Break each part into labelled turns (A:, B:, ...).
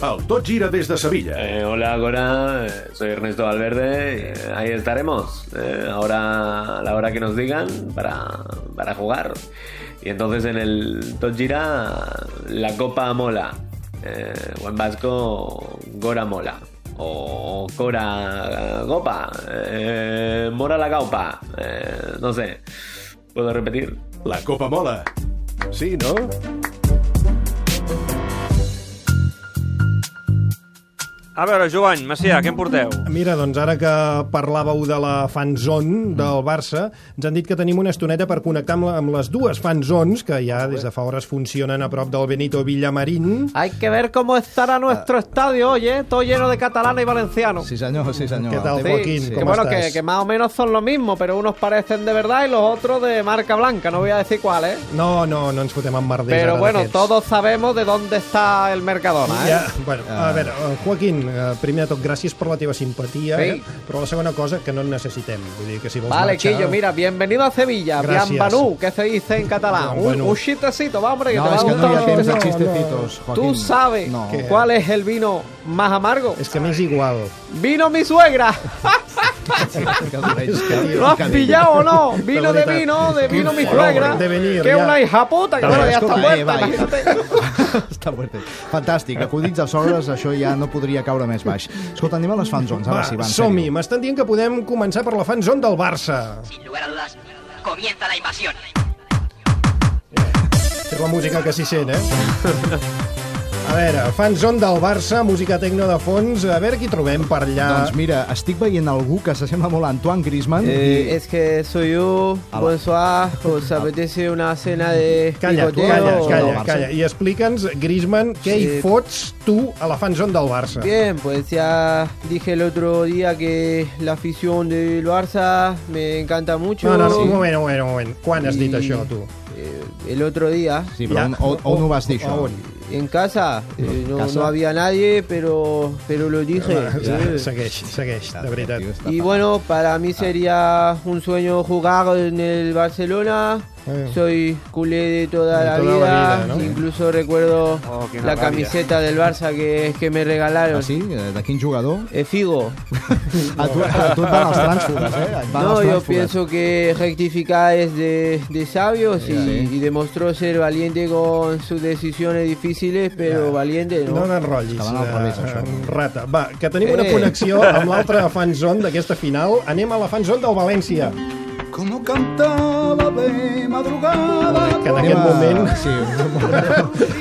A: El Tot Gira des de Sevilla.
B: Eh, hola, Cora. eh, Soy Ernesto Valverde. eh, ahí estaremos. eh, ahora, a la hora que nos digan, para, para jugar. Y entonces en el Tot Gira, la copa mola. Eh, o en vasco, Gora mola. O Cora Copa. eh, mora la caupa. eh, no sé. ¿Puedo repetir?
A: La copa mola. Sí, no?
C: A veure, Joan, Macià, què em porteu?
D: Mira, doncs ara que parlàveu de la fanzone del Barça, ens han dit que tenim una estoneta per connectar amb, la- amb les dues fanzones que ja des de fa hores funcionen a prop del Benito Villamarín.
E: Hay que ver cómo estará nuestro estadio hoy, ¿eh? Todo lleno de catalanes y valencianos.
F: Ah. Sí, senyor, sí, senyor.
D: Mm. Què tal,
F: Té-
D: Joaquín?
F: sí.
E: Que
D: Com
E: bueno,
D: estàs?
E: que, que más o menos son lo mismo, pero unos parecen de verdad y los otros de marca blanca, no voy a decir cuál, ¿eh?
D: No, no, no ens fotem en merders
E: Pero
D: ara
E: bueno,
D: d'aquests.
E: todos sabemos de dónde está el Mercadona, ¿eh?
D: Ja, bueno, a veure, eh, Joaquín, eh, primer de tot, gràcies per la teva simpatia,
E: Sí.
D: eh? però la segona cosa, que no en necessitem. Vull dir que si vols
E: Vale,
F: Pues
D: marxar...
E: Quillo, mira, bienvenido a Sevilla,
D: Gracias.
E: bienvenido, que se dice en catalán.
D: Bien,
E: Un-
D: bueno.
E: Un, chistecito, va, hombre, que
F: Ah, No,
E: te va
F: és
E: a
F: que no hi
E: gustar.
F: ha
E: un
F: temps de
D: no, no.
E: chistecito.
F: xistecitos, Joaquín.
E: Tú sabes
F: No.
D: Que-
E: cuál es el vino más amargo.
D: És que m'és igual.
E: Vino mi suegra.
F: Que dolent.
E: ¿Lo has pillado o no? Vino de vino, de vino mi suegra.
D: de venir,
E: que
D: ya.
E: una hija puta, que
F: Está
E: bueno, ya
F: bien,
E: está
F: escolta, eh,
E: muerta.
F: vaya.
E: imagínate.
F: Està fuerte. Fantàstic, acudits de sogres, això ja no podria caure més baix. Escolta, anem a les fanzones, ara
D: Va,
F: sí, va, en
D: som-hi.
F: sèrio.
D: M'estan dient que podem començar per la fanzone del Barça.
G: Sin lugar a dudas, comienza la invasión.
D: És la música que s'hi sent, eh? A veure, fanzone del Barça, música tecno de fons, a veure qui trobem per allà.
F: Doncs mira, estic veient algú que s'assembla molt a Antoine Griezmann
D: Eh,
F: i...
H: Eh, es que soy yo,
F: Ala.
H: bonsoir, os apetece una cena de
D: Calla, tu,
H: picoteo.
D: calla,
F: o- del
D: calla,
F: Barça?
D: calla. I explica'ns, Griezmann, què
H: Sí.
D: hi fots tu a la fanzone del Barça?
H: Bien, pues ya dije el otro día que la afición del Barça me encanta mucho.
D: No, no, no, un moment, un moment, un moment. Quan has dit
H: I-
D: això, tu?
H: Eh, el otro día,
F: Sí, però on, on, on ho vas dir, això?
D: On?
H: en casa, eh, no,
F: ¿Casa?
H: no había nadie, pero, pero lo dije.
D: Sí.
H: Eh,
D: Segueix, segueix, de veritat.
H: Y bueno, para mí sería un sueño jugar en el Barcelona.
D: Eh.
H: Soy culé de toda,
D: De
H: la,
D: toda
H: vida.
D: la vida, ¿no?
H: Incluso recuerdo
C: Oh, qué
H: la
C: rabia.
H: camiseta del Barça que, que me regalaron.
F: Ah, sí? Eh, De quin jugador?
H: Eh, Figo.
F: A tu, a tu et van els trànsfugues, eh? Et van
H: No,
F: els
H: yo
F: trànsfugues.
H: pienso que rectificar es de, de sabios y,
F: Sí.
H: y demostró ser valiente con sus decisiones difíciles, pero valiente,
D: No
H: ¿no?
D: n'enrotllis,
F: Que van al
D: eh,
F: revés, això.
D: en rata. Va, que tenim una
H: Eh.
D: connexió amb l'altra fanzone d'aquesta final. Anem a la fanzone del València,
F: Como cantaba de madrugada...
D: que en aquest moment
F: Sí,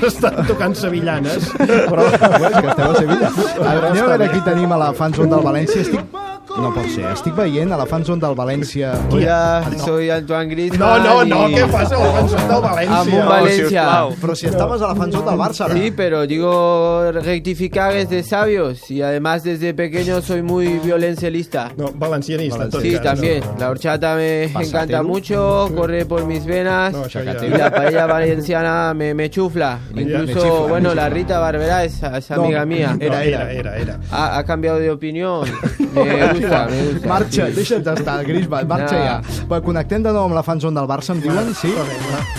D: estan tocant sevillanes, però...
F: bueno, que esteu a Sevilla. A veure, anem a veure aquí tenim a la fanzone del València. Estic... No pot ser. Estic veient a la fanzone del València...
H: Hola, soy Antoine
D: No,
H: Griezmann.
D: no, no,
H: y-
D: què passa? La cançó del
H: Amb un
D: València.
H: València.
C: sisplau.
F: Però si estaves a la fanzone del Barça...
H: Sí, pero digo, rectificar es de sabios y además desde pequeño soy muy violencelista.
D: No, valencianista, en tot
H: Sí,
D: cas.
H: también. La horchata me
F: Pásatelo.
H: encanta mucho, corre por mis venas.
D: No, això
H: Y
D: ja...
H: la paella valenciana me, me chufla.
F: Me-
H: Incluso,
F: me chifla, me
H: bueno, la
F: chifla.
H: Rita Barberá es, es
F: No,
H: amiga mía.
D: No, era, era, era.
H: Ha, ha cambiado de opinión.
D: eh,
H: Me gusta, me gusta.
F: Marxa, deixa't estar, Griezmann, marxa
H: No.
F: ja. Va, connectem de nou amb la fanzone del Barça, em diuen, sí?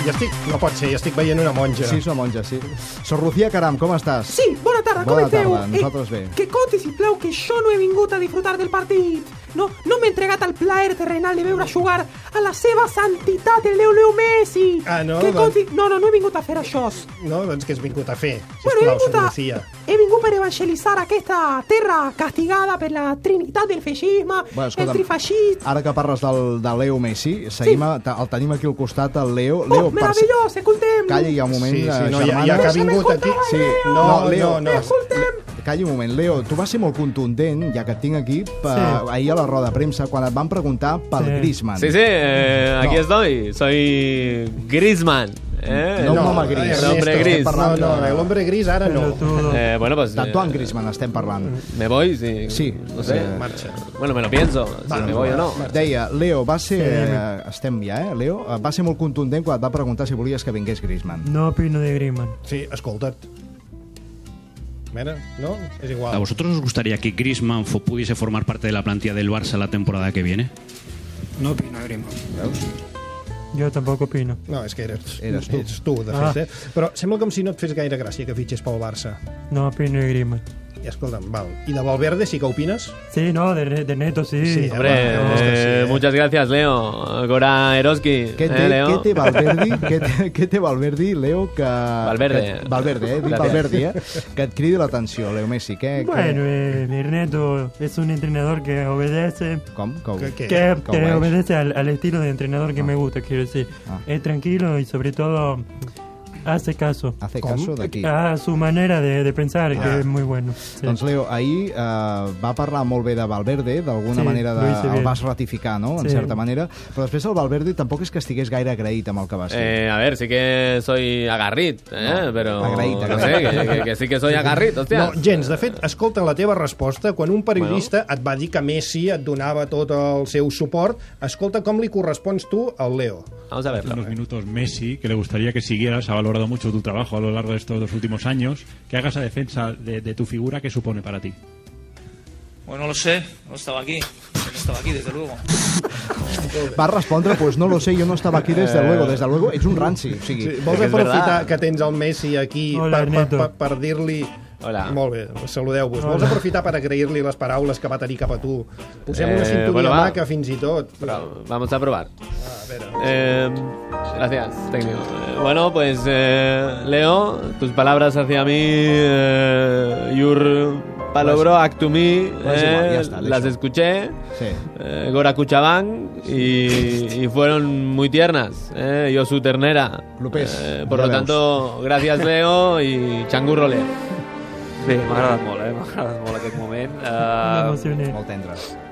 D: Ja estic... No pot ser, ja estic veient una monja.
F: Sí, és una monja, sí. Sor Lucía Caram, com estàs?
I: Sí, bona tarda,
F: Bona
I: com esteu? Eh,
F: tarda, nosaltres bé.
I: que conti, sisplau, que jo no he vingut a disfrutar del partit. No, no m'he entregat al plaer terrenal de veure jugar a la seva santitat, el Leo Leo Messi.
D: Ah, no?
I: Que
D: Doncs-
I: conti... No, no, no he vingut a fer això.
D: No, doncs què has vingut a fer?
I: Bueno, he
D: Sisplau,
I: vingut
D: Sor
I: a...
D: Lucía.
I: He vingut per evangelitzar aquesta terra castigada per la trinitat del feixisme,
F: Bueno,
I: el
F: escolta'm,
I: trifeixit...
F: Ara que parles del, de Leo Messi, seguim a, te- el tenim aquí al costat, el Leo. Leo
I: Oh, meravellós, escoltem!
F: Calla, hi ha un moment, eh,
D: Sí, sí, no, ja,
F: germana.
D: ja que ha
I: Deixa'm
D: vingut aquí...
I: escoltar,
D: Sí, no,
I: Leo.
D: Leo,
F: No, Leo.
D: no.
I: Escoltem!
F: Calla un moment, Leo, tu vas ser molt contundent, ja que et tinc aquí, per,
D: Sí.
F: ahir a la roda de premsa, quan et van preguntar pel sí. Griezmann.
B: Sí, sí, eh, aquí
F: No.
B: estoy. Soy Griezmann. ¿eh?
F: No, un home gris.
D: eh,
B: Un
D: Ernesto,
B: hombre
D: estem
B: gris.
D: parlant de- No, no, l'hombre gris ara no.
B: Eh, bueno, pues.
F: D'Antoine
B: eh,
F: Griezmann estem parlant.
B: Me voy, sí.
F: Sí.
B: No sé.
F: Eh,
D: Marxa.
B: Bueno, me lo pienso. Si me voy o no.
F: Deia, Leo, va ser... Eh, estem ja, eh, Leo? Eh, Va ser molt contundent quan et va preguntar si volies que vingués Griezmann.
I: No opino de Griezmann.
D: Sí, escolta't. Mira, no? És
J: Ah,
K: ¿A
D: igual.
K: vosotros os gustaría que Griezmann fo- pudiese formar parte de la plantilla del Barça la temporada que viene?
I: No opino de Griezmann.
J: Jo tampoc opino.
D: No, és que eres,
J: Eres
D: eres
J: tu.
D: tu. Ets tu, de
J: Ah.
D: fet. Eh? Però sembla com si no et fes gaire gràcia que fitxés pel Barça.
J: No opino de Griezmann.
D: I escolta'm, val. I de Valverde sí que opines?
J: Sí, no, de, Ne- de Neto sí.
D: Sí,
B: Hombre, eh, muchas gracias, Leo. Gora Eroski.
F: Què té,
B: eh, Leo?
F: què té Valverdi, què té, què té Valverdi, Leo, que...
B: Valverde.
F: Que, Valverde, eh? Dic
B: Gracias.
F: Valverdi, eh? Que et cridi l'atenció, Leo Messi. Què,
J: Bueno, eh, Neto es un entrenador que obedece.
F: Com? Com?
J: Que, que
F: Que- que obedece.
J: obedece al, al estilo de entrenador que me gusta, quiero decir.
F: Ah.
J: Es tranquilo y sobre todo hace caso.
F: Hace ¿Cómo? caso de aquí.
J: A su manera de, de pensar, que es muy bueno. Sí.
F: Doncs Leo, ahir eh, va parlar molt bé de Valverde,
J: Sí,
F: d'alguna manera de,
J: lo hice
F: el
J: bien.
F: vas ratificar, no?, en
J: Sí.
F: certa manera, però després el Valverde tampoc és que estigués gaire agraït amb el que va ser.
B: Eh, a ver, sí que soy agarrit, ¿eh? pero
F: agarrit,
B: no sé,
F: agarrit.
B: que, que- que sí que soy agarrit, hostia.
D: No, gens. De fet, escolta la teva resposta. Quan un periodista et va dir que Messi et donava tot el seu suport, escolta com li correspons tu al Leo.
B: Vamos a verlo.
L: Unos minutos Messi, que le gustaría que siguieras, ha valorado mucho tu trabajo a lo largo de estos dos últimos años. Que hagas la defensa de, de tu figura, que supone para ti?
M: Bueno, no lo sé, no estaba aquí. No estaba aquí, desde luego.
F: Va respondre, pues no lo sé, jo no estava aquí des de
D: Eh.
F: luego, des de luego, ets un ranci, o sigui...
D: Sí, vols aprofitar que tens el Messi aquí
F: Hola,
D: per, per,
F: Neto.
D: per, per dir-li...
B: Hola.
D: Molt bé, doncs saludeu-vos.
B: Hola.
D: Vols aprofitar per agrair-li les paraules que va tenir cap a tu? Posem
B: Eh,
D: una sintonia
B: bueno,
D: bueno,
B: va.
D: maca, fins i tot.
B: Pero vamos a probar. Eh, gracias, técnico. Eh, Bueno, pues eh, Leo, tus palabras hacia mí, eh, your palabro act to me,
F: Pues igual,
B: eh,
F: ya está, listo.
B: las escuché,
F: Sí.
B: eh, Gora Cuchabán, y, y fueron muy tiernas. eh, yo su ternera.
F: Lupés,
B: Eh, por
F: ya
B: lo
F: veus.
B: tanto, gracias Leo y changurro Leo.
C: Sí, m'ha agradat molt, eh? M'ha agradat molt aquest moment.
J: Una
C: Uh,
J: emoció, nen.
F: Molt tendres.